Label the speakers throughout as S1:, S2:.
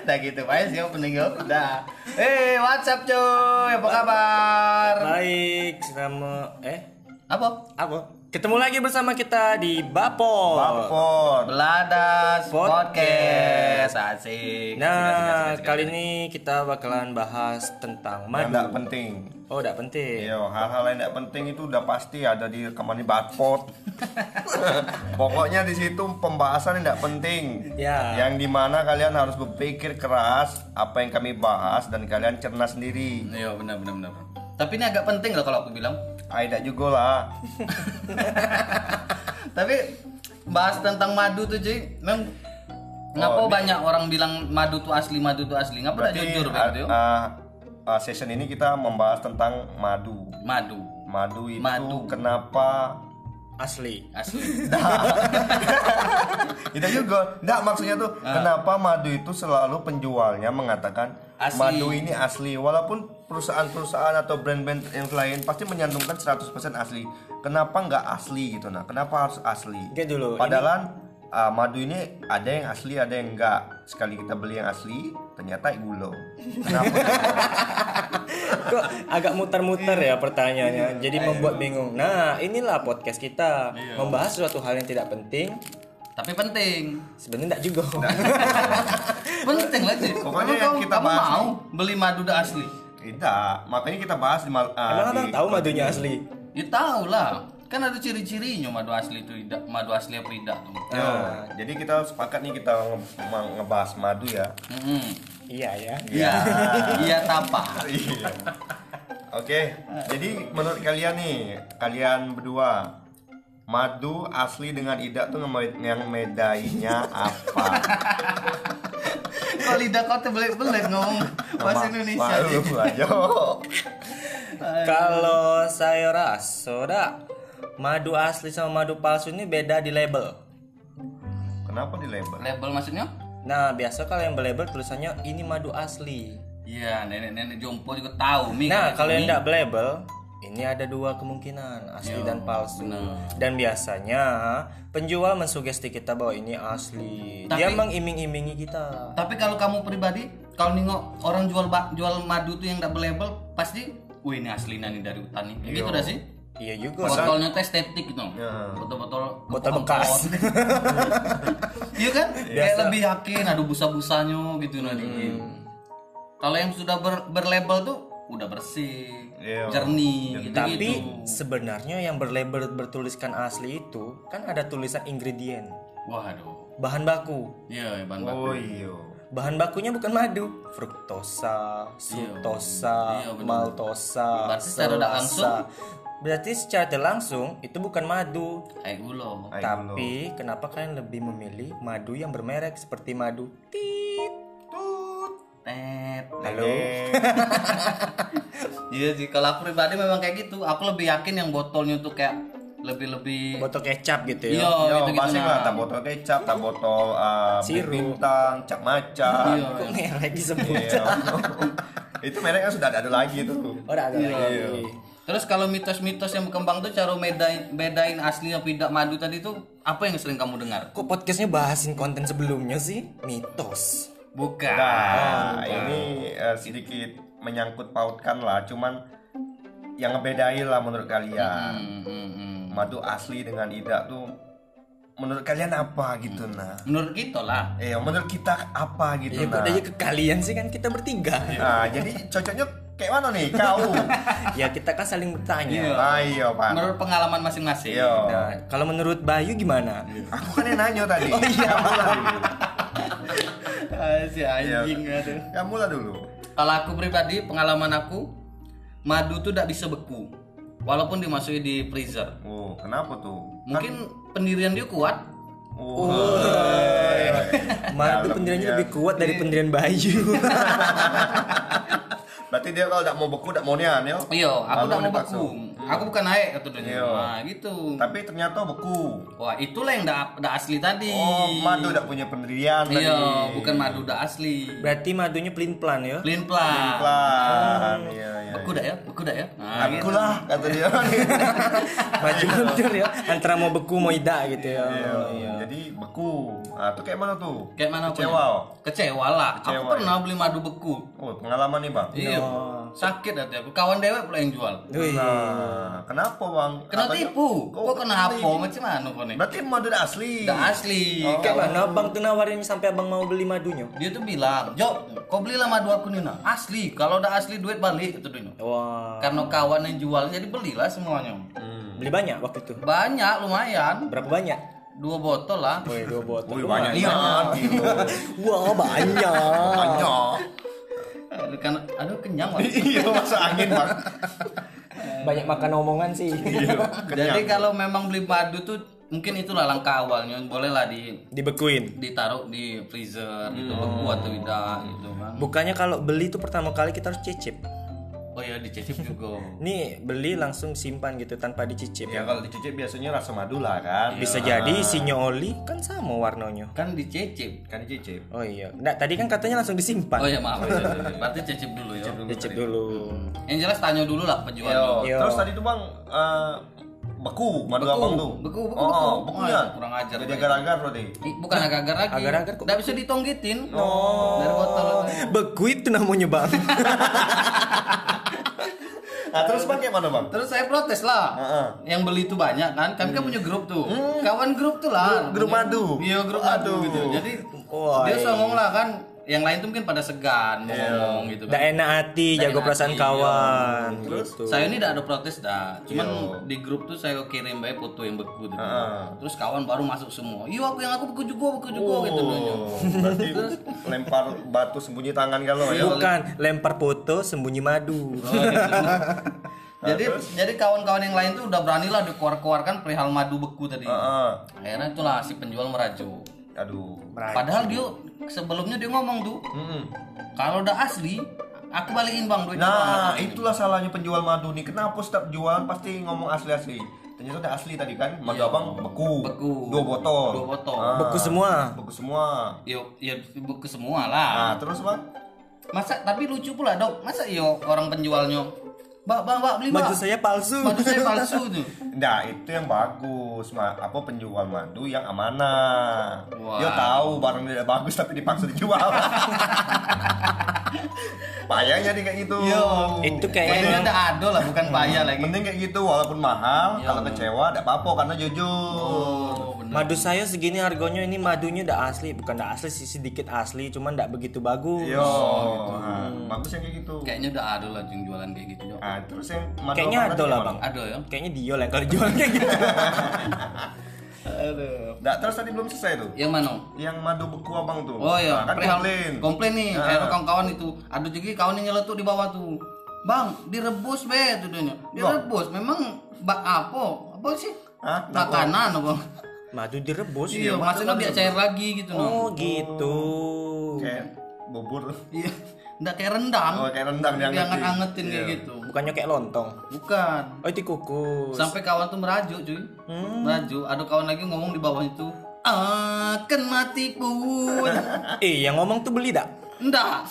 S1: Nah gitu aja sih opening yo. Nah. Eh, what's up cuy? Apa kabar?
S2: Baik, sama eh
S1: Apa?
S2: apa? Ketemu lagi bersama kita di Bapol.
S3: Oh,
S1: Bapor Beladas Podcast.
S2: Podcast.
S1: Asik.
S2: Nah, kali ini kita bakalan bahas tentang madu.
S3: Tidak penting.
S2: Oh, enggak penting.
S3: Yo, hal-hal yang tidak penting itu udah pasti ada di rekaman di Batpot. Pokoknya di situ pembahasan yang tidak penting.
S1: Iya.
S2: Ya.
S3: Yang dimana kalian harus berpikir keras apa yang kami bahas dan kalian cerna sendiri.
S1: Iya, benar benar benar. Tapi ini agak penting loh kalau aku bilang.
S3: Ah, tidak juga lah.
S1: Tapi bahas tentang madu tuh cuy, memang
S3: Oh,
S1: Ngapa banyak orang bilang madu tuh asli, madu tuh asli? Ngapa udah jujur
S3: ah,
S1: begitu?
S3: ah, ah, session ini kita membahas tentang madu.
S1: Madu
S3: Madu itu
S1: Madu.
S3: kenapa?
S2: Asli.
S1: asli.
S3: Tidak Gitu juga. Tidak maksudnya tuh
S2: Ah.
S3: kenapa madu itu selalu penjualnya mengatakan
S1: Asli.
S3: madu ini asli walaupun perusahaan-perusahaan atau brand-brand yang lain pasti menyandungkan 100% asli. Kenapa nggak asli gitu nah? Kenapa harus asli?
S2: Oke dulu,
S3: Padahal ah, madu ini ada yang asli, ada yang enggak. Sekali kita beli yang asli, ternyata gulo. Kenapa?
S2: Kok agak muter-muter ya pertanyaannya. Jadi membuat bingung. Nah, inilah podcast kita membahas suatu hal yang tidak penting.
S1: Tapi penting.
S2: Sebenarnya enggak juga.
S1: penting lah cuy.
S3: Pokoknya
S1: Kamu-
S3: yang kita
S1: kamu
S3: bahas
S1: mau beli madu udah asli?
S3: Tidak. Makanya kita bahas di mal- ah,
S2: Emang
S3: di-
S2: abang tahu madunya asli?
S1: Ya tau lah, kan ada ciri-cirinya madu asli itu tidak, madu asli apa tidak tuh.
S3: Yo, Ah, jadi kita sepakat nih kita nge- nge- ngebahas madu ya.
S1: Mm-mm.
S2: Iya ya.
S1: Iya, iya tapa.
S3: Iya. Oke, jadi menurut kalian nih, kalian berdua madu asli dengan idak tuh ngeme- yang medainya apa?
S1: Kalau lidah kau tebelit-belit ngomong bahasa
S3: Nama-
S1: Indonesia.
S3: Malu aja.
S2: Kalau saya rasa, dak, madu asli sama madu palsu ini beda di label.
S3: Kenapa di label?
S1: Label maksudnya?
S2: Nah, biasa kalau yang berlabel tulisannya ini madu asli.
S1: Iya, nenek-nenek jompo juga tahu. Mi,
S2: Nah, kalau yang
S1: Mi.
S2: tidak berlabel, ini ada dua kemungkinan,
S1: Ya,
S2: asli dan palsu. Dan biasanya penjual mensugesti kita bahwa ini asli. Dia
S1: Tapi-
S2: mengiming-imingi kita.
S1: Tapi kalau kamu pribadi, kalau nengok orang jual ba- jual madu tuh yang tidak berlabel, pasti, wih ini aslinya nih dari hutan nih. Ya, Gitu dah sih.
S2: Iya juga. sih.
S1: Botolnya tuh estetik gitu.
S3: Ya.
S1: Botol-botol
S2: Botol bekas.
S1: Iya kan? Kayak lebih yakin ada busa-busanya gitu nah dingin.
S3: Hmm.
S1: Kalau yang sudah ber- berlabel tuh udah bersih,
S3: Iya.
S1: jernih gitu.
S2: Tapi sebenarnya yang berlabel bertuliskan asli itu kan ada tulisan ingredient,
S1: Waduh.
S2: bahan baku.
S1: Iya, bahan baku.
S3: Oh iya.
S2: Bahan bakunya bukan madu, fruktosa,
S1: Iya,
S2: suktosa,
S1: bener-bener.
S2: maltosa,
S1: Berarti secara tidak langsung?
S2: selasa. Berarti secara tidak langsung itu bukan madu,
S1: Kayak gula.
S3: Ayo dulu.
S2: tapi kenapa kalian lebih memilih madu yang bermerek seperti madu tit?
S1: Tet.
S2: Halo.
S3: Eh,
S1: Iya sih, kalau aku pribadi memang kayak gitu. Aku lebih yakin yang botolnya tuh kayak lebih-lebih
S2: Botol kecap gitu
S1: Iya,
S2: ya.
S3: Yo,
S1: gitu-gitu.
S3: pasti lah, tak botol kecap, tak botol ah, bir
S2: Sirup. Iya.
S3: bintang, cap macan.
S2: Kok merek disebut?
S3: Iya. itu mereknya sudah ada lagi tuh.
S2: Oh, ada lagi.
S1: Terus kalau mitos-mitos yang berkembang tuh cara bedain, bedain asli atau tidak madu tadi tuh apa yang sering kamu dengar?
S2: Kok podcastnya bahasin konten sebelumnya sih? Mitos.
S1: Bukan.
S3: Nah, ini eh, sedikit menyangkut pautkan lah, cuman yang ngebedain lah menurut kalian.
S1: Hmm, hmm, hmm.
S3: Madu asli dengan idak tuh menurut kalian apa gitu
S1: Hmm.
S3: nah.
S1: Menurut kita lah.
S3: Eh, menurut kita apa
S1: Iya,
S2: Ya
S3: gitu
S2: kok
S3: nah.
S2: aja ke kalian sih kan kita bertiga.
S3: Nah, jadi cocoknya kayak mana nih kau?
S2: ya kita kan saling bertanya.
S3: Ayo, Pak.
S1: Iya. Menurut pengalaman masing-masing.
S3: Yo.
S2: Nah, kalau menurut Bayu gimana?
S3: Aku kan yang nanya tadi.
S1: Oh, iya.
S3: Kamu lah dulu.
S1: Ah, si anjing
S3: Iya.
S1: aduh.
S3: Kamu lah dulu.
S1: Kalau aku pribadi, pengalaman aku madu tuh tidak bisa beku. Walaupun dimasukin di freezer.
S3: Oh, kenapa tuh?
S1: Mungkin
S3: Kan.
S1: pendirian dia kuat.
S3: Oh,
S1: Uhuh.
S3: iya.
S2: Madu pendiriannya lebih kuat dari pendirian Bayu.
S3: Berarti dia kalau tidak mau beku, tidak mau nian ya.
S1: Iya, aku
S3: Lalu
S1: udah mau
S3: dipaksa.
S1: beku. Aku bukan naik kata dia.
S3: Iya.
S1: Nah, gitu.
S3: Tapi ternyata beku.
S1: Wah, itulah yang dah dah asli tadi.
S3: Oh, madu tidak punya pendirian
S1: Iya,
S3: tadi.
S1: bukan madu dah asli.
S2: Berarti madunya pelin pelan ya.
S1: Plain plan.
S3: Pelan. Iya, iya.
S1: Beku dah ya, beku dah ya. Nah, gitu.
S3: Aku lah kata dia.
S2: Maju mundur ya. Antara mau beku mau tidak gitu ya.
S3: Iya. Jadi beku. Nah, itu kayak mana tuh?
S1: Kayak mana aku?
S3: Kecewa.
S1: Kecewa lah. Aku
S3: Kecewa, ya.
S1: pernah beli madu beku.
S3: Oh, pengalaman nih, Bang.
S1: Iya. Sakit hati aku. Kawan dewe pula yang jual.
S2: Wih.
S3: Nah, kenapa, Bang?
S1: Kena
S3: Katanya-
S1: tipu.
S3: Oh,
S1: Kok kena apa macam mana kau nih?
S3: Berarti Oh. madu tidak asli.
S1: Dah asli.
S2: Kayak mana abang Nah, tuh nawarin sampai abang mau beli madunya?
S1: Dia tuh bilang, "Jo, kau belilah madu aku Nina. Asli. Kalau udah asli duit balik." Itu Nina.
S2: Wah.
S1: Karena kawan yang jual jadi belilah semuanya.
S3: Hmm.
S2: Beli banyak waktu itu.
S1: Banyak lumayan.
S2: Berapa banyak?
S1: Dua botol lah.
S2: Woi, dua botol.
S3: Wih, banyak
S1: Iya.
S3: banget gitu.
S2: Wah, banyak.
S3: Banyak.
S1: Aduh, kan- aduh kenyang Wak.
S3: Iya, masuk angin, Bang.
S2: banyak makan omongan sih.
S3: Iya,
S1: Jadi
S3: kenyang.
S1: kalau memang beli madu tuh mungkin itulah langkah awalnya. Bolehlah di
S2: Dibekuin.
S1: ditaruh di freezer gitu
S3: Hmm.
S1: beku atau tidak gitu kan.
S2: Bukannya kalau beli tuh pertama kali kita harus cicip.
S1: Oh ya dicicip juga.
S2: Nih, beli langsung simpan gitu tanpa dicicip.
S3: Ya kalau dicicip biasanya rasa madu lah kan.
S1: Iya.
S2: Bisa jadi isinya oli kan sama warnanya.
S1: kan dicicip.
S3: Kan dicicip.
S2: Oh iya. Nggak, tadi kan katanya langsung
S1: Oh
S2: disimpan.
S1: ya maaf. ya, ya, ya. Berarti cicip dulu ya.
S2: Dicicip dulu.
S1: Yang jelas tanya dulu lah penjualnya.
S3: Yo.
S2: Yo.
S3: Iya. Terus tadi tuh bang eh, beku madu
S1: Iya. Beku,
S3: abang tuh.
S1: beku, beku,
S3: Oh,
S1: beku.
S3: beku ya.
S1: Wah, kurang ajar.
S3: Jadi agar-agar loh deh.
S1: Ih, Bukan agar-agar lagi.
S2: Agar-agar kok
S1: Nggak bisa ditonggitin. Oh. Dari botol.
S2: Beku Eh, itu namanya bang.
S3: Nah terus bang kayak mana bang?
S1: Terus saya protes lah.
S3: Heeh. Hmm.
S1: Yang beli itu banyak kan. Kami kan punya grup tuh. Kawan grup tuh lah.
S3: Grup- grup
S1: namanya.
S3: madu.
S1: Iya, grup madu
S3: Aduh.
S1: gitu. Jadi
S2: Woi.
S1: dia songong lah kan. Yang lain tuh mungkin pada segan mau
S3: Iya.
S1: ngomong gitu
S2: Nggak
S1: kan.
S2: enak hati,
S1: Nggak
S2: jago
S1: enak
S2: perasaan
S1: hati, iya.
S2: kawan. Gitu.
S1: Saya ini tidak ada protes dah. Cuman
S3: Iya.
S1: di grup tuh saya kirim baik foto yang beku gitu. Terus kawan baru masuk semua. Iya aku yang aku beku juga, beku juga gitu.
S3: Oh, berarti lempar batu sembunyi tangan kalau
S1: Iya.
S3: ya.
S2: Bukan lempar foto sembunyi madu.
S1: gitu.
S3: Nah,
S1: jadi jadi kawan-kawan yang lain tuh udah beranilah dikeluar-keluarkan perihal madu beku tadi.
S3: Heeh.
S1: Akhirnya itulah si penjual merajuk.
S3: Aduh.
S1: Padahal dia sebelumnya dia ngomong tuh,
S3: Mm-mm.
S1: kalau udah asli, aku balikin bang duitnya.
S3: Nah itulah salahnya penjual madu nih. Kenapa setiap jualan pasti ngomong asli-asli? Ternyata udah asli tadi kan. Madu abang beku.
S1: Iya. Beku.
S3: Dua botol.
S1: Dua botol.
S3: Ah,
S2: Beku semua.
S3: beku semua.
S1: Yo, ya beku semua lah.
S3: Nah terus bang.
S1: Masa tapi lucu pula dok, masa yo orang penjualnya, mbak mbak mbak beli mbak.
S2: Madu saya palsu.
S1: Madu saya palsu tuh.
S3: Nah itu yang bagus, Ma. apa penjual madu yang amanah.
S1: Wah.
S3: Dia tahu barang tidak bagus tapi dipaksa dijual. Payahnya nih kayak gitu.
S1: Yo.
S2: Itu
S1: Kayaknya
S2: kayaknya
S1: ada ado lah, bukan payah lagi.
S3: Mending kayak gitu walaupun mahal, kalau kecewa tidak apa-apa karena jujur.
S1: Oh, bener.
S2: madu saya segini harganya ini madunya udah asli, bukan udah asli sih sedikit asli, cuman enggak begitu bagus.
S3: Yo, nah, bagus yang kayak gitu.
S1: Kayaknya udah ado lah yang jualan kayak gitu dok.
S3: Nah, terus yang madu
S2: Kayaknya
S3: apa
S2: ada
S3: tadi,
S2: lah
S3: Bang?
S2: bang.
S1: Ado ya.
S2: Kayaknya dia lah yang kalau jual kayak gitu.
S3: Nah, terus tadi belum selesai tuh.
S1: Yang mana?
S3: Yang madu beku abang tuh.
S1: Iya, Oh iya,
S3: Nah, kan
S1: perihal-
S3: komplain.
S1: komplain nih,
S3: Nah.
S1: akhirnya kawan-kawan itu. Ada juga kawan yang nyeletuk di bawah tuh. Bang, direbus be itu dia. Direbus, memang bak apa? Apa sih?
S3: Hah?
S1: Makanan apa?
S2: Madu direbus.
S1: Iya, maksudnya biar cair lagi gitu no.
S2: Oh gitu.
S3: Kayak bubur.
S1: Iya, enggak kayak rendang.
S3: Oh, kayak rendang
S1: Dia
S3: diangetin. Iya.
S1: anget-angetin kayak gitu.
S2: Bukannya kayak lontong.
S1: Bukan.
S2: Oh itu kukus.
S1: Sampai kawan tuh merajuk cuy Merajuk, ada kawan lagi ngomong di bawah itu Akan mati pun
S2: Eh yang ngomong tuh beli dak?
S1: Enggak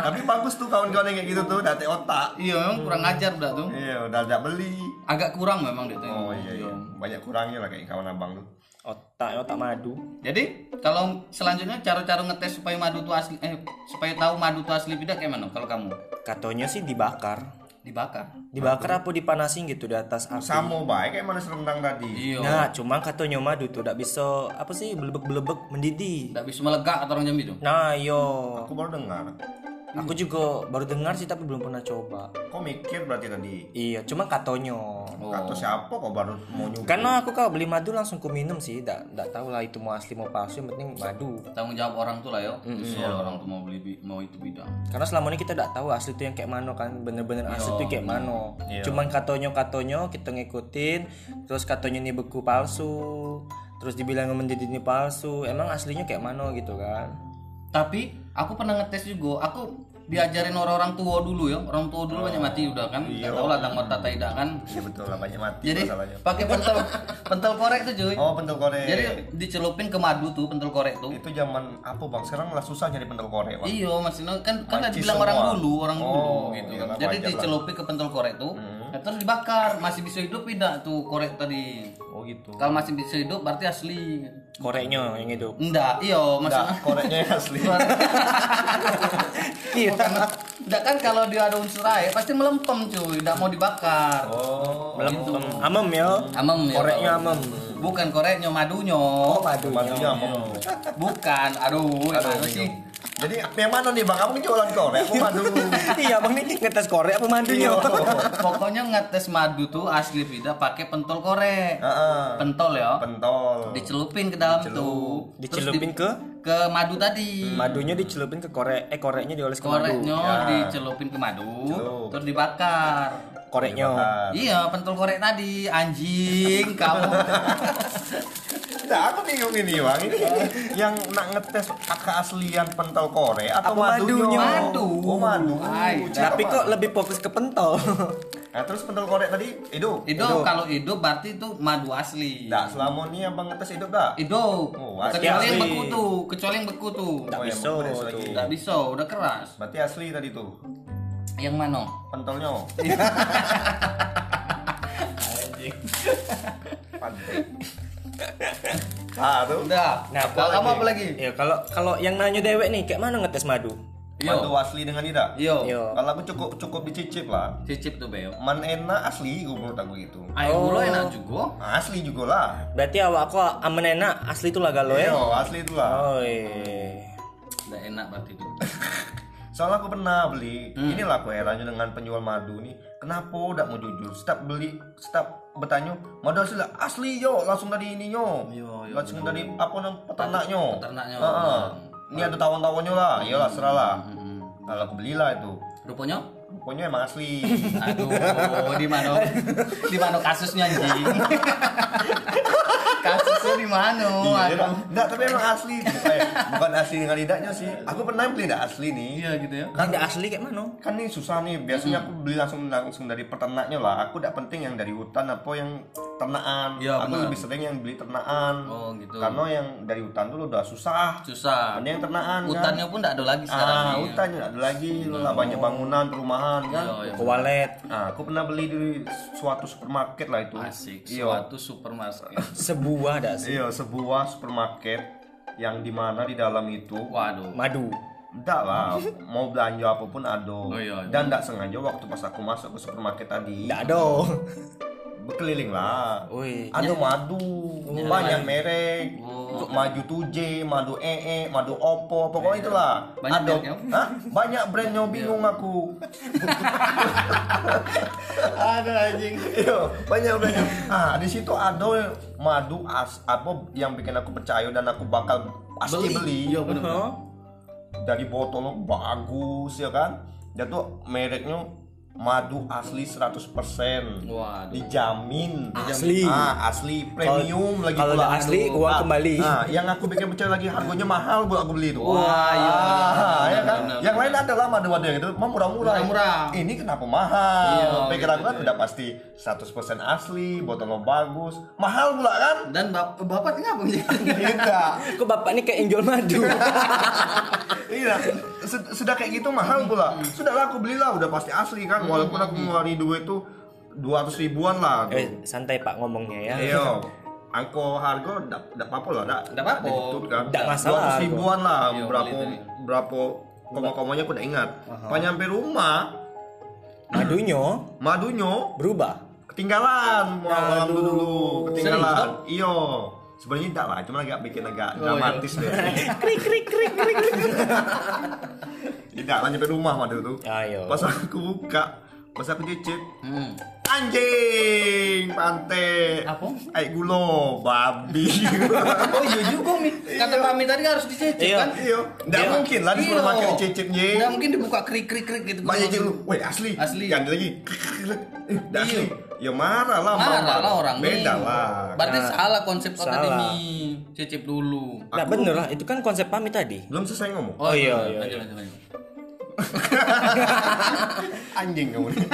S3: Tapi bagus tuh kawan-kawan yang kayak gitu tuh, date otak.
S1: Iya memang kurang ajar udah tuh
S3: Iya, udah tidak beli.
S1: Agak kurang memang dia tuh
S3: Oh iya, iya. Banyak kurangnya lah kayak kawan abang tuh.
S2: Otak otak madu.
S1: Jadi kalau selanjutnya cara-cara ngetes supaya madu tuh asli Eh supaya tahu madu tuh asli tidak kayak mana kalau kamu
S2: Katanya sih dibakar.
S1: Dibakar
S2: Dibakar apa dipanasin gitu di atas api.
S3: Sama baik kayak manis rendang tadi.
S1: Iya
S2: Nah, cuman katanya madu tuh tidak bisa apa sih belebek-belebek mendidih.
S1: Nggak bisa melegak atau orang Jambi tuh
S2: Nah, yo.
S3: Aku baru dengar.
S2: Aku iya. juga baru dengar sih tapi belum pernah coba.
S3: Kok mikir berarti tadi?
S2: Iya, cuman katanya.
S1: Oh,
S3: Kata siapa kok baru mau nyoba?
S2: Karena aku kalau beli madu langsung ku minum sih, tidak tidak tahu lah itu mau asli mau palsu, yang penting madu.
S1: Tanggung jawab orang tuh lah yo Soal orang tuh mau beli bi- mau itu bidang
S2: Karena selama ini kita tidak tahu asli itu yang kayak mano kan, bener-bener asli itu kayak mano.
S1: iya.
S2: Cuman katonyo katonyo kita ngikutin, terus katonyo ini beku palsu, terus dibilang mendidih ini palsu, emang aslinya kayak mano gitu kan?
S1: Tapi aku pernah ngetes juga Aku diajarin orang-orang tua dulu ya orang tua dulu banyak mati udah kan nggak tahu lah tang mata tak tidak kan
S3: Iya betul lah banyak mati
S1: jadi
S3: masalahnya.
S1: pakai pentel pentel korek tuh cuy
S3: Oh pentul korek.
S1: jadi dicelupin ke madu tuh pentel korek tuh
S3: itu zaman apa bang? Sekarang lah susah nyari pentul korek bang.
S1: Iya, maksudnya kan kan ada
S3: Mancis
S1: bilang
S3: semua.
S1: orang dulu, orang dulu
S3: Oh,
S1: gitu.
S3: iyalah,
S1: Jadi
S3: wajar lah. Hmm.
S1: dicelupi ke pentol korek tuh, nah, terus dibakar. Masih bisa hidup tidak tuh korek tadi?
S2: Oh gitu.
S1: Kalau masih bisa hidup berarti asli.
S2: Koreknya yang hidup.
S1: Enggak, iya maksudnya.
S3: Enggak, koreknya yang asli.
S2: Iya.
S1: Enggak kan kalau dia ada unsur air pasti melempem cuy, enggak mau dibakar.
S3: Oh,
S2: Melempem. Amem ya.
S1: gitu. Amem ya,
S2: Koreknya
S1: kalau-
S2: amem.
S1: Bukan koreknya, madunya.
S2: Waduh.
S3: madunya mau.
S1: iya. Bukan, Oh, aduh, gimana sih?
S3: Jadi yang mana nih bang? Kamu ini jualan korek? Aku madu.
S2: iya bang ini ngetes korek apa madunya?
S1: Iya. Pokoknya ngetes madu tuh asli beda pakai pentol korek.
S3: Heeh.
S1: Pentol ya.
S3: Pentol.
S1: dicelupin ke dalam tuh Terus
S2: Dicelupin
S1: di-
S2: ke
S1: ke madu ya. tadi
S2: madunya dicelupin ke korek. Eh koreknya dioles ke madu.
S1: koreknya dicelupin ke madu
S3: Celup.
S1: terus dibakar
S2: Koreknya.
S3: Ah.
S1: iya pentul korek tadi anjing kamu
S3: Nah, aku bingung ini bang. Ini yang nak ngetes keaslian pentol korek atau
S2: Apa
S3: madunya?
S2: madunya?
S1: Madu.
S3: Oh madu.
S1: Hai,
S3: Cek
S2: Tapi
S3: apa?
S2: kok lebih fokus ke pentol.
S3: Nah, terus pentol korek tadi hidup.
S1: itu kalau hidup berarti itu madu asli
S3: Nah, selama ini abang ngetes hidup dah.
S1: hidup
S3: Oh, asli.
S1: kecuali yang
S2: Asli.
S1: beku tuh kecuali yang beku tuh
S2: Tak
S3: Oh, yang
S2: bisa
S3: beres
S2: tuh.
S3: lagi.
S1: nggak bisa udah keras
S3: Berarti asli tadi tuh
S1: yang mana
S3: pentolnya. Pantai. Ah, tuh.
S1: udah
S2: Nah, apa
S1: kalau kamu
S2: lagi?
S1: apa lagi
S2: Ya kalau kalau yang nanya dewek nih kayak mana ngetes madu?
S3: Madu asli dengan tidak?
S1: yo yo
S2: Yo.
S3: Kalau aku cukup cukup dicicip lah.
S1: cicip tuh beo
S3: Man enak asli gue menurut aku gitu.
S1: ayo
S2: Oh.
S1: lo enak juga
S3: Asli juga lah.
S2: Berarti awak kok amen enak asli tuh lah galau
S1: eh?
S2: ya.
S3: Yo, asli itu lah.
S2: Oh
S1: udah enak berarti itu
S3: Soalnya aku pernah beli.
S1: Hmm.
S3: Inilah aku herannya dengan penjual madu nih. Kenapa udah mau jujur? Setiap beli, setiap bertanya, madu asli lah. Asli yo, langsung dari ini yo.
S1: Yo, yo,
S3: langsung dari apa nam peternaknya.
S1: Peternaknya. oh,
S3: Heeh. Ini ada tawon-tawonnya lah. Iyalah serah lah.
S1: Hmm.
S3: Kalau aku belilah itu.
S1: rupanya
S3: Pokoknya emang asli.
S1: Aduh, di mana? Di mana kasusnya anjing? Kasusnya di mana?
S3: Iya,
S1: Aduh.
S3: Enggak, tapi emang asli. Eh, bukan asli dengan lidahnya sih. Aku pernah beli enggak asli nih.
S1: Iya gitu ya.
S2: Kan nggak asli kayak mana?
S3: kan ini susah nih biasanya aku beli langsung langsung dari peternaknya lah aku tidak penting yang dari hutan apa yang ternaan
S1: Iya,
S3: aku
S1: benar.
S3: lebih sering yang beli ternaan
S1: Oh, gitu.
S3: karena yang dari hutan dulu udah susah
S1: Susah.
S3: mending yang ternaan
S1: Hutannya pun enggak ada lagi ya.
S3: kan
S1: sekarang.
S3: ah
S1: nih.
S3: hutannya ada lagi lah banyak bangunan perumahan kan
S1: Iya, iya.
S2: Ke walet
S3: nah, aku pernah beli di suatu supermarket lah itu
S1: Asik,
S3: iya
S1: suatu ya. supermarket.
S2: sebuah dah sih.
S3: iya sebuah supermarket yang dimana di dalam itu
S1: Waduh.
S2: Madu.
S3: Enggak lah, mau belanja apapun ado.
S1: iya, iya.
S3: Dan enggak sengaja waktu pas aku masuk ke supermarket tadi,
S2: Nggak ada.
S3: berkeliling lah.
S1: Oh, iya.
S2: Woi.
S3: Ada madu, banyak merek.
S1: Oh.
S3: Maju 2J, madu EE, madu Oppo, pokoknya itulah.
S1: Iya. Banyak
S3: ada
S1: brandnya. Iya.
S3: Hah? banyak brandnya bingung aku.
S1: Ada anjing.
S3: Iya, banyak brandnya. Ah, di situ ada madu as apa yang bikin aku percaya dan aku bakal pasti beli.
S1: Iya benar.
S2: Huh?
S3: dari botolnya bagus ya kan dia tuh mereknya madu asli 100%
S1: Waduh.
S3: dijamin
S2: Asli.
S3: ah, asli premium lagi
S2: kalau
S3: pula.
S2: udah asli,
S3: Aduh.
S2: uang
S3: Ah,
S2: kembali.
S3: ah, yang aku bikin percaya lagi harganya mahal buat aku beli itu
S1: Wah, iya, benar,
S3: ah, ya
S1: benar,
S3: kan
S1: benar,
S3: yang lain adalah madu-madu yang itu mah murah-murah
S1: Murah-murah.
S3: ini kenapa mahal
S1: Iya,
S3: pikir
S1: gitu,
S3: aku kan
S1: gitu.
S3: udah pasti 100% asli botolnya bagus mahal pula kan Iya.
S1: Dan bap eh, bapak kenapa anjing?
S3: tidak
S2: Kok bapak ini kayak yang jual madu?
S3: Iya, sed- sudah kayak gitu mahal pula. Sudah lah aku belilah, udah pasti asli kan. Walaupun aku ngeluarin duit tuh 200 ribuan lah.
S2: eh,
S3: tuh.
S2: santai pak ngomongnya ya.
S3: Iya. Angko harga enggak apa-apa lah, enggak
S1: Nggak apa-apa.
S3: kan.
S2: Nggak masalah,
S3: 200 ribuan lah,
S1: Iya,
S3: berapa
S1: beli tuh.
S3: berapa koma-komanya aku enggak ingat. Pas nyampe rumah,
S2: Madunya
S3: madunya
S2: berubah.
S3: ketinggalan mau malam tuh dulu, ketinggalan.
S1: Serius,
S3: Iya. Sebenarnya enggak lah, cuma agak bikin agak dramatis deh.
S2: Krik krik krik krik.
S3: Tidak lah nyampe rumah madu tuh.
S2: Ayo.
S3: Pas aku buka, pas aku cicip,
S1: Hmm.
S3: Anjing, pantai.
S1: Apa?
S3: Aik gulo, babi.
S1: Oh iya juga mi. Kata Pami tadi harus dicicip
S2: Iya.
S1: kan?
S3: Iya, enggak mungkin lah di supermarket
S1: Iya.
S3: dicicip
S1: Nggak
S3: anjing.
S1: mungkin dibuka krik-krik-krik gitu.
S3: Banyak yang lu, weh asli.
S1: Asli. Iya.
S3: Yang lagi. Eh, nggak asli. Ya marah lah,
S1: marah lah orang Iya. nih.
S3: Beda lah.
S1: Berarti salah konsep
S2: Salah.
S1: akademi. Cicip dulu.
S2: Nah bener lah, itu kan konsep pamit tadi.
S3: Belum selesai ngomong.
S2: Oh, iya, iya,
S1: lanjut, lanjut, lanjut.
S3: Anjing kamu nih.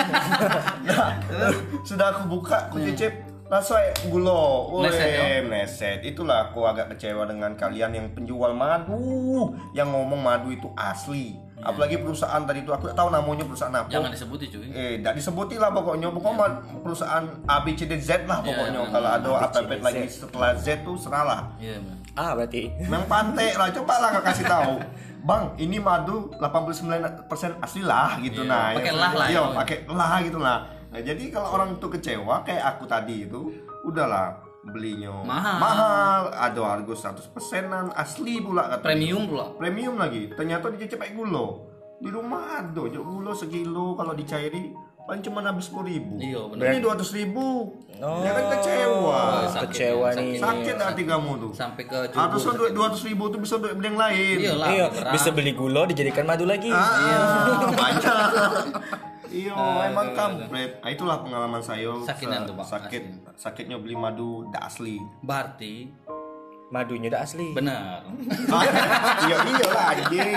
S3: Nah, terus sudah aku buka, aku cicip, langsung aja gulo,
S1: Hmm.
S3: Weh,
S1: Meleset, ya?
S3: meleset. Itulah aku agak kecewa dengan kalian yang penjual madu, yang ngomong madu itu asli. Apalagi perusahaan tadi itu aku tak tahu namanya perusahaan apa.
S1: Iya. Jangan disebutin cuy.
S3: Eh, tidak disebutin lah pokoknya. Pokoknya mah perusahaan A, B, C, D, Z lah pokoknya.
S1: iya,
S3: Kalau ada
S2: A, B, C,
S3: apa
S2: D,
S3: lagi setelah Z tuh seralah.
S1: Iya, Bang.
S2: Ah berarti.
S3: Memang pantai lah, coba lah nggak kasih tahu. Bang, ini madu 89% asli lah gitu
S1: Iya,
S3: nah.
S1: pakai
S3: Ya,
S1: lah lah
S3: Iya,
S1: ya.
S3: pakai lah gitu lah. Nah, jadi kalau orang itu kecewa kayak aku tadi itu, udahlah belinya
S1: Mahal.
S3: mahal ada harga 100%an asli pula kata
S1: Premium pula.
S3: premium lagi ternyata dicicip kayak gulo di rumah ada jok gulo sekilo kalau dicairi paling cuma habis sepuluh ribu
S1: Iya, bener.
S3: ini dua ratus ribu
S2: Oh.
S3: ya kan kecewa
S1: Oh,
S2: Sakit, kecewa
S1: sakit.
S2: nih.
S3: sakit hati kamu tuh
S1: Sampai ke jubur.
S3: harusnya duit kan dua ratus ribu tuh bisa duit beli yang lain
S1: Iya lah.
S2: Iya,
S1: berat.
S2: bisa beli gula dijadikan madu lagi.
S3: ah, banyak Iya,
S1: Ah,
S3: emang kampret. Nah, itulah pengalaman saya.
S1: Sakitan iya. tuh, Pak,
S3: Sakit, sakitnya beli madu dak asli.
S1: Berarti
S2: Madunya udah asli.
S1: benar.
S3: Ah, iya iya lah anjing.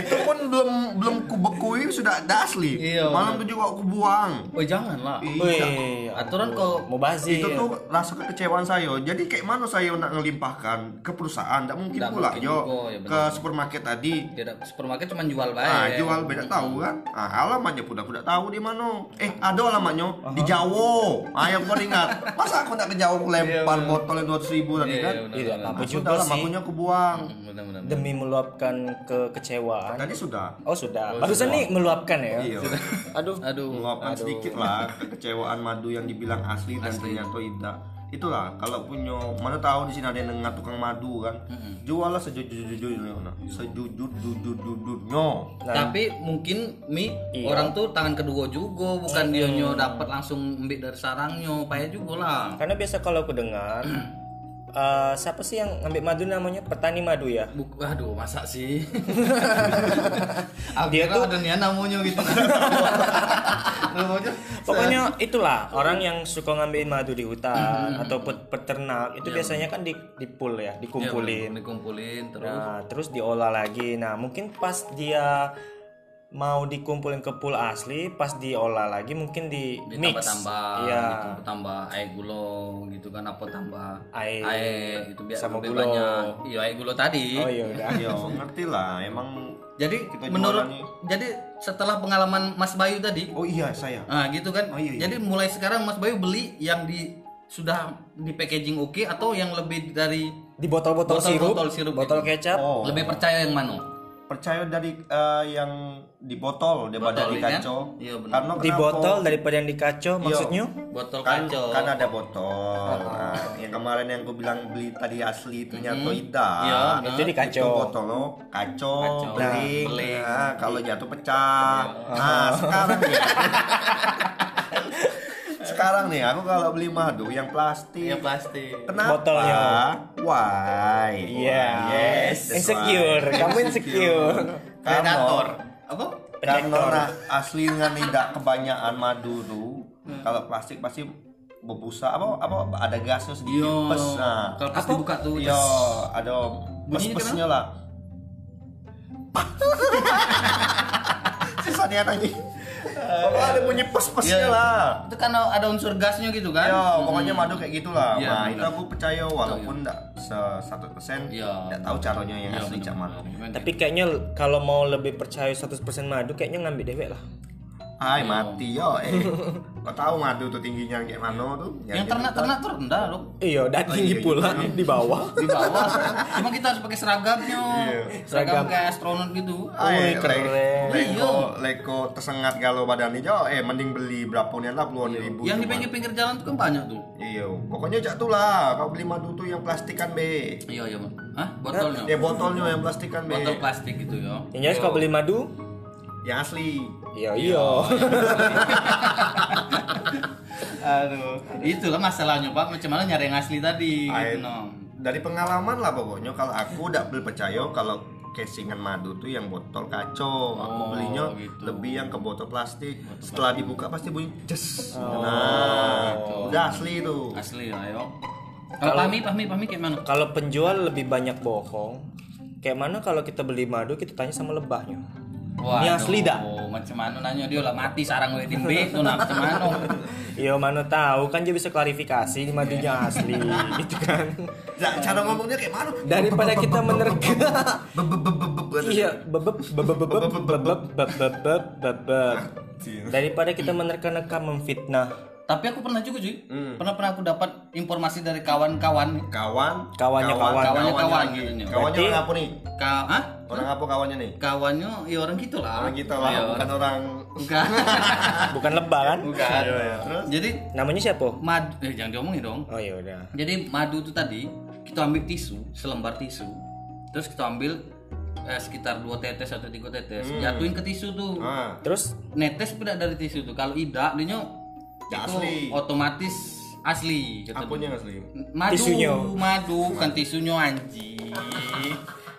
S3: Itu pun belum belum kubekui sudah ada asli.
S1: Iya.
S3: Malam itu juga aku buang.
S1: Oh, jangan lah.
S3: Iya.
S2: Wih,
S1: Aturan kalau
S2: mau bazir.
S3: Itu tuh rasa kekecewaan saya. Jadi kayak mana saya nak ngelimpahkan ke perusahaan? Tidak mungkin
S1: Nggak
S3: pula
S1: mungkin
S3: yo
S1: juga, ya
S3: ke supermarket tadi.
S1: tidak supermarket cuma jual baik.
S3: Ah, jual beda tahu kan? Ah, alamatnya pun aku tidak tahu di mana. Eh, ada alamatnya di Jawa. Ah, yang aku ingat. Masa aku nak ke Jawa aku lempar botol yang 200 ribu tadi kan?
S2: Tidak apa-apa
S3: Aku
S2: juga
S3: dalam
S2: sih.
S3: akunya aku buang.
S1: Benar-benar.
S2: Demi meluapkan kekecewaan.
S3: Tadi sudah.
S2: Oh sudah. Barusan nih meluapkan ya.
S3: Iya.
S2: Aduh.
S1: Aduh,
S3: meluapkan sedikit lah kekecewaan madu yang dibilang asli dan ternyata tidak itulah kalau punya mana tahu di sini ada yang dengar tukang madu kan juallah sejujur jujurnya sejujur jujur jujurnya
S2: Iya.
S1: Tapi mungkin mi orang tuh tangan kedua juga, bukan dia
S2: Iya.
S1: nyo dapat langsung ambil dari sarangnya, payah juga lah.
S2: Karena biasa kalau aku dengar eh, siapa sih yang ngambil madu namanya petani madu ya?
S1: Buk, aduh, masa sih?
S2: Dia
S1: dia tuh ada niat namanya gitu. Namanya
S2: Pokoknya itulah orang yang suka ngambilin madu di hutan atau pet- peternak itu biasanya kan di dipul ya, dikumpulin.
S1: Iya, dikumpulin terus.
S2: Nah, terus diolah lagi. Nah, mungkin pas dia mau dikumpulin ke pool asli, pas diolah lagi mungkin di mix.
S1: Ditambah-tambah,
S2: Iya.
S1: gitu, tambah air gulo gitu kan apa tambah
S2: Air.
S1: air itu biar
S2: Sama
S1: lebih
S2: gulo.
S1: banyak. Iya, air gulo tadi.
S2: Oh iya udah.
S3: ya ngerti lah emang
S1: Jadi
S3: Kita
S1: menurut
S3: jualannya.
S1: jadi setelah pengalaman Mas Bayu tadi,
S3: oh iya saya
S1: Nah, gitu kan.
S3: Oh, iya, iya.
S1: Jadi mulai sekarang Mas Bayu beli yang di sudah di packaging oke atau yang lebih dari
S2: Di botol-botol sirup,
S1: Botol-botol gitu. sirup
S2: botol kecap.
S3: oh
S1: lebih percaya yang mana?
S3: percaya dari eh, yang di botol
S1: Botol,
S3: daripada di
S1: iya kan?
S3: kaco
S1: Iya, benar.
S3: karena
S2: Di
S3: kenapa?
S2: botol daripada yang di
S1: Iya.
S2: kaco maksudnya?
S1: Botol
S3: kan,
S1: kaco. Ah,
S3: kan ada botol Nah, yang kemarin yang gue bilang beli tadi asli itu nyato ida
S1: Iya,
S2: itu di kaco.
S3: itu botol lo kaco, beling,
S1: beling.
S3: Nah, kalau jatuh pecah
S1: Iya. Ah.
S3: nah sekarang nih sekarang nih aku kalau beli madu yang plastik
S1: Yang Iya, plastik.
S3: Kenapa?
S2: Botolnya.
S3: Why?
S2: Iya.
S3: Yes. that's
S2: Insecure.
S3: why.
S2: Kamu insecure.
S1: Predator.
S3: Karena-
S1: Apa?
S3: karena
S2: Predaktor.
S3: orang asli dengan tidak kebanyakan madu tuh
S1: Hmm.
S3: kalau plastik pasti berbusa apa apa ada gasnya sedikit
S1: Yo.
S3: pes nah.
S1: Iya. Kalau pas dibuka tuh.
S3: yo ada
S1: Bunyinya
S3: pes-pesnya lah susah dia tadi pokoknya ada bunyi pes-pesnya
S1: Iya.
S3: lah
S1: Itu kan ada unsur gasnya gitu kan?
S3: yo pokoknya madu kayak gitulah
S1: Iya,
S3: nah
S1: bener.
S3: itu aku percaya walaupun tidak satu persen
S1: Iya.
S3: tidak tahu caranya yang asli cak madu
S2: Tapi kayaknya l- kalau mau lebih percaya 100% madu kayaknya ngambil dewek lah.
S3: Hai
S1: Iya.
S3: mati yo eh kau tahu madu tuh tingginya kayak mana tuh gitu.
S1: yang ternak-ternak tuh rendah loh.
S2: Iya, udah tinggi pula
S1: gitu.
S2: di bawah.
S1: Di bawah. Cuma kita harus pakai seragamnya.
S3: Iya.
S1: Seragam kayak astronot gitu.
S2: Wih,
S3: Ay,
S2: keren.
S1: Iya.
S3: Leko, leko tersengat galau badannya Jo, eh mending beli berapa nih lah puluhan ribu.
S1: Iya. Yang di
S3: cuman.
S1: pinggir-pinggir jalan tuh kan banyak tuh.
S3: Iya, pokoknya cak tuh lah, kau beli madu tuh yang plastikan be.
S1: Iya, iya, Bang. Hah? Botolnya.
S3: Ya botolnya yang plastikan be,
S1: Botol plastik gitu ya.
S2: Yang jelas kalau beli madu,
S3: yang asli.
S2: iya iya.
S1: Aduh, itulah masalahnya Pak. Macam mana nyari yang asli tadi
S3: Ay,
S1: gitu nom.
S3: dari pengalaman lah pokoknya kalau aku udah beli percaya kalau casingan madu tuh yang botol kaco aku belinya
S1: gitu.
S3: lebih yang ke botol plastik setelah dibuka pasti bunyi jes nah udah asli tuh
S1: Asli ya, ayo. Kalau Pahmi, Pahmi, Pahmi kayak mana?
S2: Kalau penjual lebih banyak bohong. Kayak mana kalau kita beli madu kita tanya sama lebahnya?
S1: Wah,
S2: Ini asli dah.
S1: Macam mana nanya dia lah mati sarang wedding be itu nah macam mana.
S2: Yo mana tahu kan dia bisa klarifikasi
S1: Iya.
S2: ini madunya asli gitu kan.
S3: Nah, cara ngomongnya kayak mana?
S2: Daripada kita menerka.
S3: Beb beb beb beb, beb.
S2: Iya, bebep bebep bebep bebep bebep bebep bebep. Daripada kita menerka-nerka memfitnah
S1: Tapi aku pernah juga cuy. Pernah pernah aku dapat informasi dari kawan-kawan
S3: Kawan,
S2: Kawannya kawan.
S1: Kawannya kawan.
S3: lagi.
S1: Iya.
S3: Kawannya orang apa nih?
S1: ka Hah?
S3: Orang apa kawannya nih?
S1: kawannya ya orang gitulah.
S3: Orang kita lah,
S1: Iya,
S3: bukan
S1: orang-
S3: orang. Iya,
S1: Bukan.
S2: bukan lebah kan?
S1: Bukan.
S3: Terus?
S1: Jadi
S2: Namanya siapa?
S1: madu eh, jangan diomongin dong.
S2: Oh ya udah.
S1: Jadi madu itu tadi kita ambil tisu, selembar tisu. Terus kita ambil eh, sekitar dua tetes atau tiga tetes, jatuhin ke tisu tuh.
S3: Hmm. Ah,
S2: Terus
S1: Netes beda dari tisu tuh. Kalau tidak, dia nyo-
S3: Ya,
S1: itu
S3: asli.
S1: otomatis asli gitu.
S3: apunya nggak asli.
S1: Madu,
S2: Tisunya.
S1: madu, bukan tisunya anjing.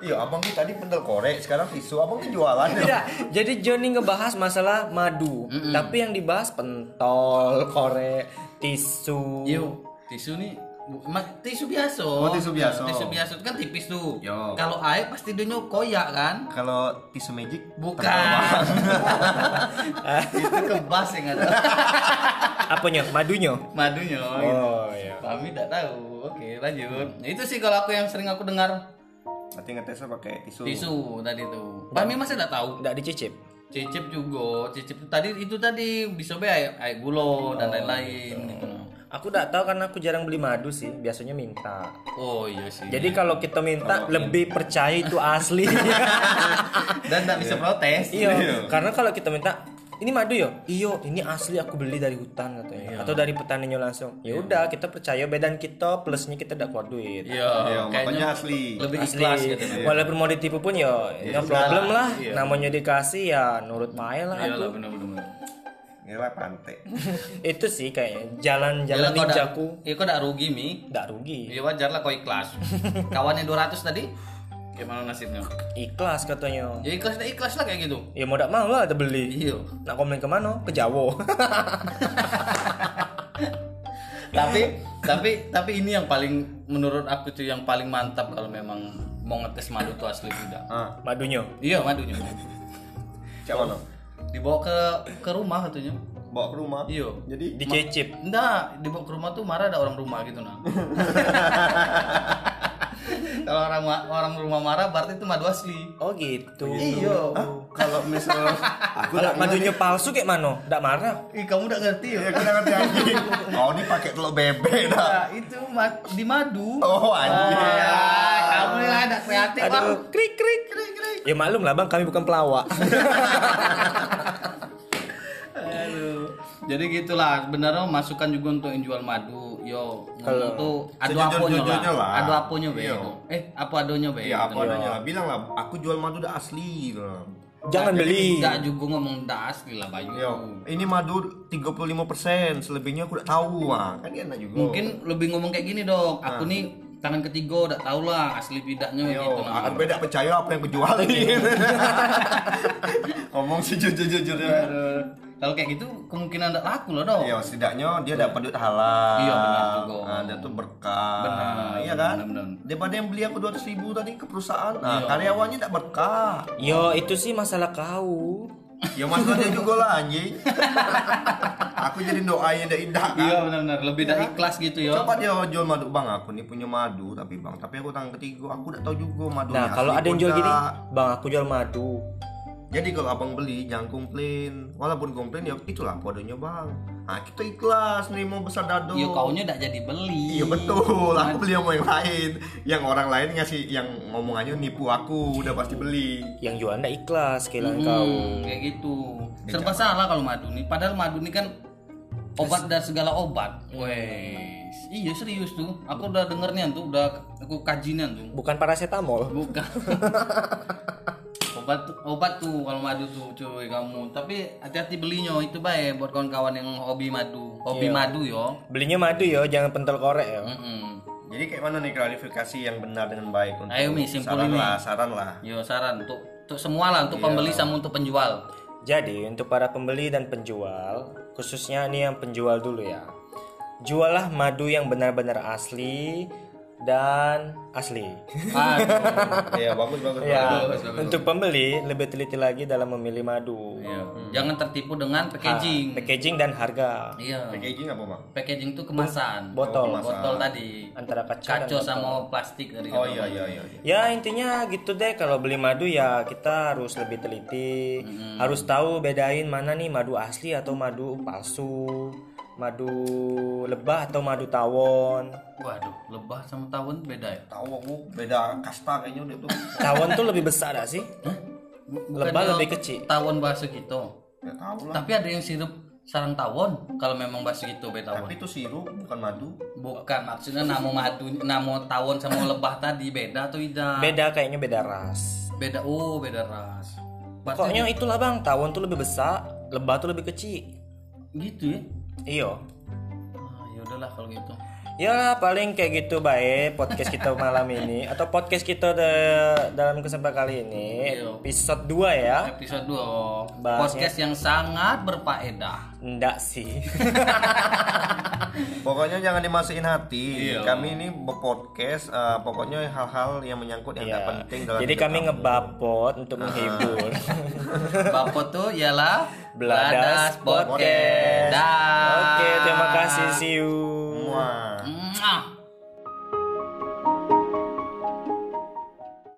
S3: Iya, abang tuh tadi pendel korek, sekarang tisu. Abang tuh jualan ya.
S2: Tidak. Jadi Johnny ngebahas masalah madu, tapi yang dibahas pentol, korek, tisu.
S1: Yo, tisu nih bu- ma- tisu biasa.
S3: Oh, tisu biasa.
S1: Tisu biasa itu kan tipis tuh.
S3: Yo.
S1: Kalau air pasti dia nyo koyak kan?
S3: Kalau tisu magic
S1: Bukan. itu kebas ya yang ada.
S2: Apanya? Madunya?
S1: Madunya. gitu.
S2: Oh iya.
S1: Kami tidak tahu. Oke, lanjut. Nah, itu sih kalau aku yang sering aku dengar
S3: Nanti ngetesnya pakai tisu.
S1: tisu tadi tuh. Bami masih tidak tahu.
S2: Nggak dicicip.
S1: Cicip juga, cicip itu tadi itu tadi bisa be air, air gulo
S2: Oh,
S1: dan lain-lain
S2: iya.
S1: gitu.
S2: Aku nggak tahu karena aku jarang beli madu sih, biasanya minta.
S1: Oh iya sih.
S2: Jadi kalau kita minta lebih percaya itu asli.
S1: dan tidak bisa protes.
S2: iya. Karena kalau kita minta ini madu yo, iyo ini asli aku beli dari hutan
S1: Iya.
S2: katanya, atau dari petaninya langsung. Ya udah kita percaya badan kita plusnya kita tidak keluar duit.
S1: Iya,
S3: Iya,
S1: kayaknya
S3: makanya asli.
S1: lebih
S2: Asli.
S1: ikhlas gitu. Iya.
S2: Walaupun mau ditipu pun ya no problem lah. Namanya dikasih ya nurut main lah
S1: Iya
S2: aku.
S1: lah benar-benar.
S3: Ngelak pantai.
S2: Itu sih kayaknya jalan-jalan
S1: kau dak-
S2: ninjaku
S1: Iya kau dak rugi mi.
S2: enggak rugi.
S1: Ya wajar lah kau ikhlas. Kawannya 200 tadi gimana nasibnya?
S2: Ikhlas katanya.
S1: Ya ikhlas tidak ikhlas lah kayak gitu.
S2: Ya mau enggak mau lah ada beli.
S1: Iya.
S2: Nak komplain kemana? Ke Jawa.
S1: tapi tapi tapi ini yang paling menurut aku tuh yang paling mantap kalau memang mau ngetes madu tuh asli tidak.
S3: Ah,
S2: Madunya.
S1: Iya madunya.
S3: siapa
S1: Oh.
S3: lo?
S1: Dibawa ke ke rumah katanya.
S3: Bawa ke rumah.
S1: Iya.
S3: Jadi
S2: Dicicip.
S1: Enggak, dibawa ke rumah tuh marah ada orang rumah gitu nah. Kalau orang ma- orang rumah marah berarti itu madu asli.
S2: Oh gitu.
S1: Iya.
S3: kalau misal aku
S2: Kalau madunya palsu kayak mana? Enggak marah.
S1: Ih, kamu udah ngerti ya?
S3: ya kita ngerti anjing. Kau ini pakai telur bebek dah.
S1: Nah, itu ma- di madu.
S3: Oh
S1: Ya,
S3: anjing.
S1: kamu lah ada kreatif Bang.
S2: Aduh, krik krik krik krik. Ya maklum lah bang, kami bukan pelawak.
S1: Aduh. Jadi gitulah, sebenarnya masukan juga untuk yang jual madu. Yo, kalau tuh adu
S3: Sejujur-jujurnya
S1: aponya lah.
S3: lah.
S1: Adu aponya be.
S3: Iya.
S1: itu. Eh, apa adonya be?
S3: Iya
S1: gitu.
S3: apa adanya lah. Bilang lah, aku jual madu udah asli. gitu. lah.
S2: Jangan beli.
S1: Enggak juga ngomong enggak asli lah Bayu.
S3: Yo, Iya. ini madu 35% selebihnya aku udah tahu lah. Kan enak juga.
S1: Mungkin lebih ngomong kayak gini dong. Aku nih tangan ketiga udah tau lah asli tidaknya gitu.
S3: Nah. Yo, aku beda percaya apa yang kejual Ngomong ya. sejujur-jujurnya.
S1: Kalau kayak gitu kemungkinan enggak laku loh dong.
S3: Ya setidaknya dia dapat duit halal.
S1: Iya, benar juga.
S3: Nah, dia tuh berkah.
S1: Benar,
S3: Iya kan?
S1: benar, Iya. benar.
S3: Daripada yang beli aku 200 ribu tadi ke perusahaan, nah, karyawannya tak berkah.
S2: Yo itu sih masalah kau.
S3: ya maksudnya juga lah anjing. aku jadi doain yang indah kan.
S1: Iya benar-benar lebih dah ikhlas gitu yo.
S3: Coba dia jual madu bang aku nih punya madu tapi bang tapi aku tangan ketiga aku udah tahu juga madu.
S2: Nah kalau ada yang jual gini, bang aku jual madu.
S3: Jadi kalau abang beli jangan komplain walaupun komplain ya itulah kodenya bang. Nah kita ikhlas nih mau besar dado.
S1: Yo kaunya enggak jadi beli.
S3: Iya betul, aku beli sama yang lain Yang orang lain ngasih, yang ngomongannya nipu aku, udah pasti beli
S2: Yang jual ndak ikhlas kehilangan kau.
S1: Hmm, kayak gitu. Serba salah kalau madu nih. Padahal madu nih kan obat dan segala obat. Wes. Iya serius tuh. Aku udah denger nian tuh, udah aku kajinian tuh.
S2: Bukan paracetamol.
S1: Bukan. obat tuh, obat tuh kalau madu tuh cuy kamu. Tapi hati-hati belinya itu baik buat kawan-kawan yang hobi madu. Hobi madu yo.
S2: Belinya madu yo, jangan pentol korek yo.
S1: Mm-mm.
S3: Jadi kayak mana nih klarifikasi yang benar dengan baik untuk
S1: Ayo, Mi, simpulin,
S3: saran
S1: Mi.
S3: lah, saran lah
S1: Yo saran untuk untuk semua lah, untuk pembeli sama untuk penjual.
S2: Jadi untuk para pembeli dan penjual, khususnya nih yang penjual dulu ya. Jualah madu yang benar-benar asli, dan asli.
S1: Aduh.
S3: Iya bagus bagus.
S2: Ya,
S1: bagus, bagus,
S2: untuk pembeli lebih teliti lagi dalam memilih madu,
S1: Iya. Jangan tertipu dengan packaging.
S2: packaging dan harga,
S1: Iya.
S3: Packaging apa bang?
S1: Packaging itu kemasan.
S2: botol
S1: Botol tadi.
S2: antara kaca.
S1: Kaco sama plastik dari
S3: Oh iya iya iya. iya.
S2: Ya intinya gitu deh kalau beli madu ya kita harus lebih teliti, harus tahu bedain mana nih madu asli atau madu palsu, madu lebah atau madu tawon.
S1: Waduh, lebah sama tawon beda ya.
S3: Tahu aku beda kasta kayaknya udah tuh.
S2: Tawon tuh lebih besar gak sih? Lebah
S1: Bukannya
S2: lebih kecil.
S1: Tawon bahasa gitu.
S3: Gak tahu lah.
S1: Tapi ada yang sirup sarang tawon kalau memang bahasa gitu be tawon.
S3: Tapi itu sirup bukan madu.
S1: Bukan maksudnya namo madu, namo tawon sama lebah tadi beda atau tidak?
S2: Beda kayaknya beda ras.
S1: Beda. Oh, beda ras. Berarti
S2: Pokoknya itulah bang, tawon tuh lebih besar, lebah tuh lebih kecil. Iya.
S1: gitu ya.
S2: Iyo.
S1: Ah, ya udahlah kalau gitu.
S2: Ya paling kayak gitu baik podcast kita malam ini atau podcast kita de- dalam kesempatan kali ini
S1: Iyo.
S3: Iya.
S2: episode 2 ya.
S1: Episode 2
S3: ya.
S2: Bahasnya-
S1: podcast yang sangat berfaedah.
S2: Ndak sih.
S3: Pokoknya jangan dimasukin hati.
S2: Iya.
S3: Kami ini berpodcast. eh, pokoknya hal-hal yang menyangkut yang nggak penting
S2: Iya.
S3: dalam.
S2: Jadi
S3: hidup Ah.
S2: kami ngebapot untuk menghibur.
S1: Bapak tuh ialah
S2: Beladas Podcast.
S1: Dah.
S2: Oke, terima kasih. See you.
S3: semua.
S1: Mwah.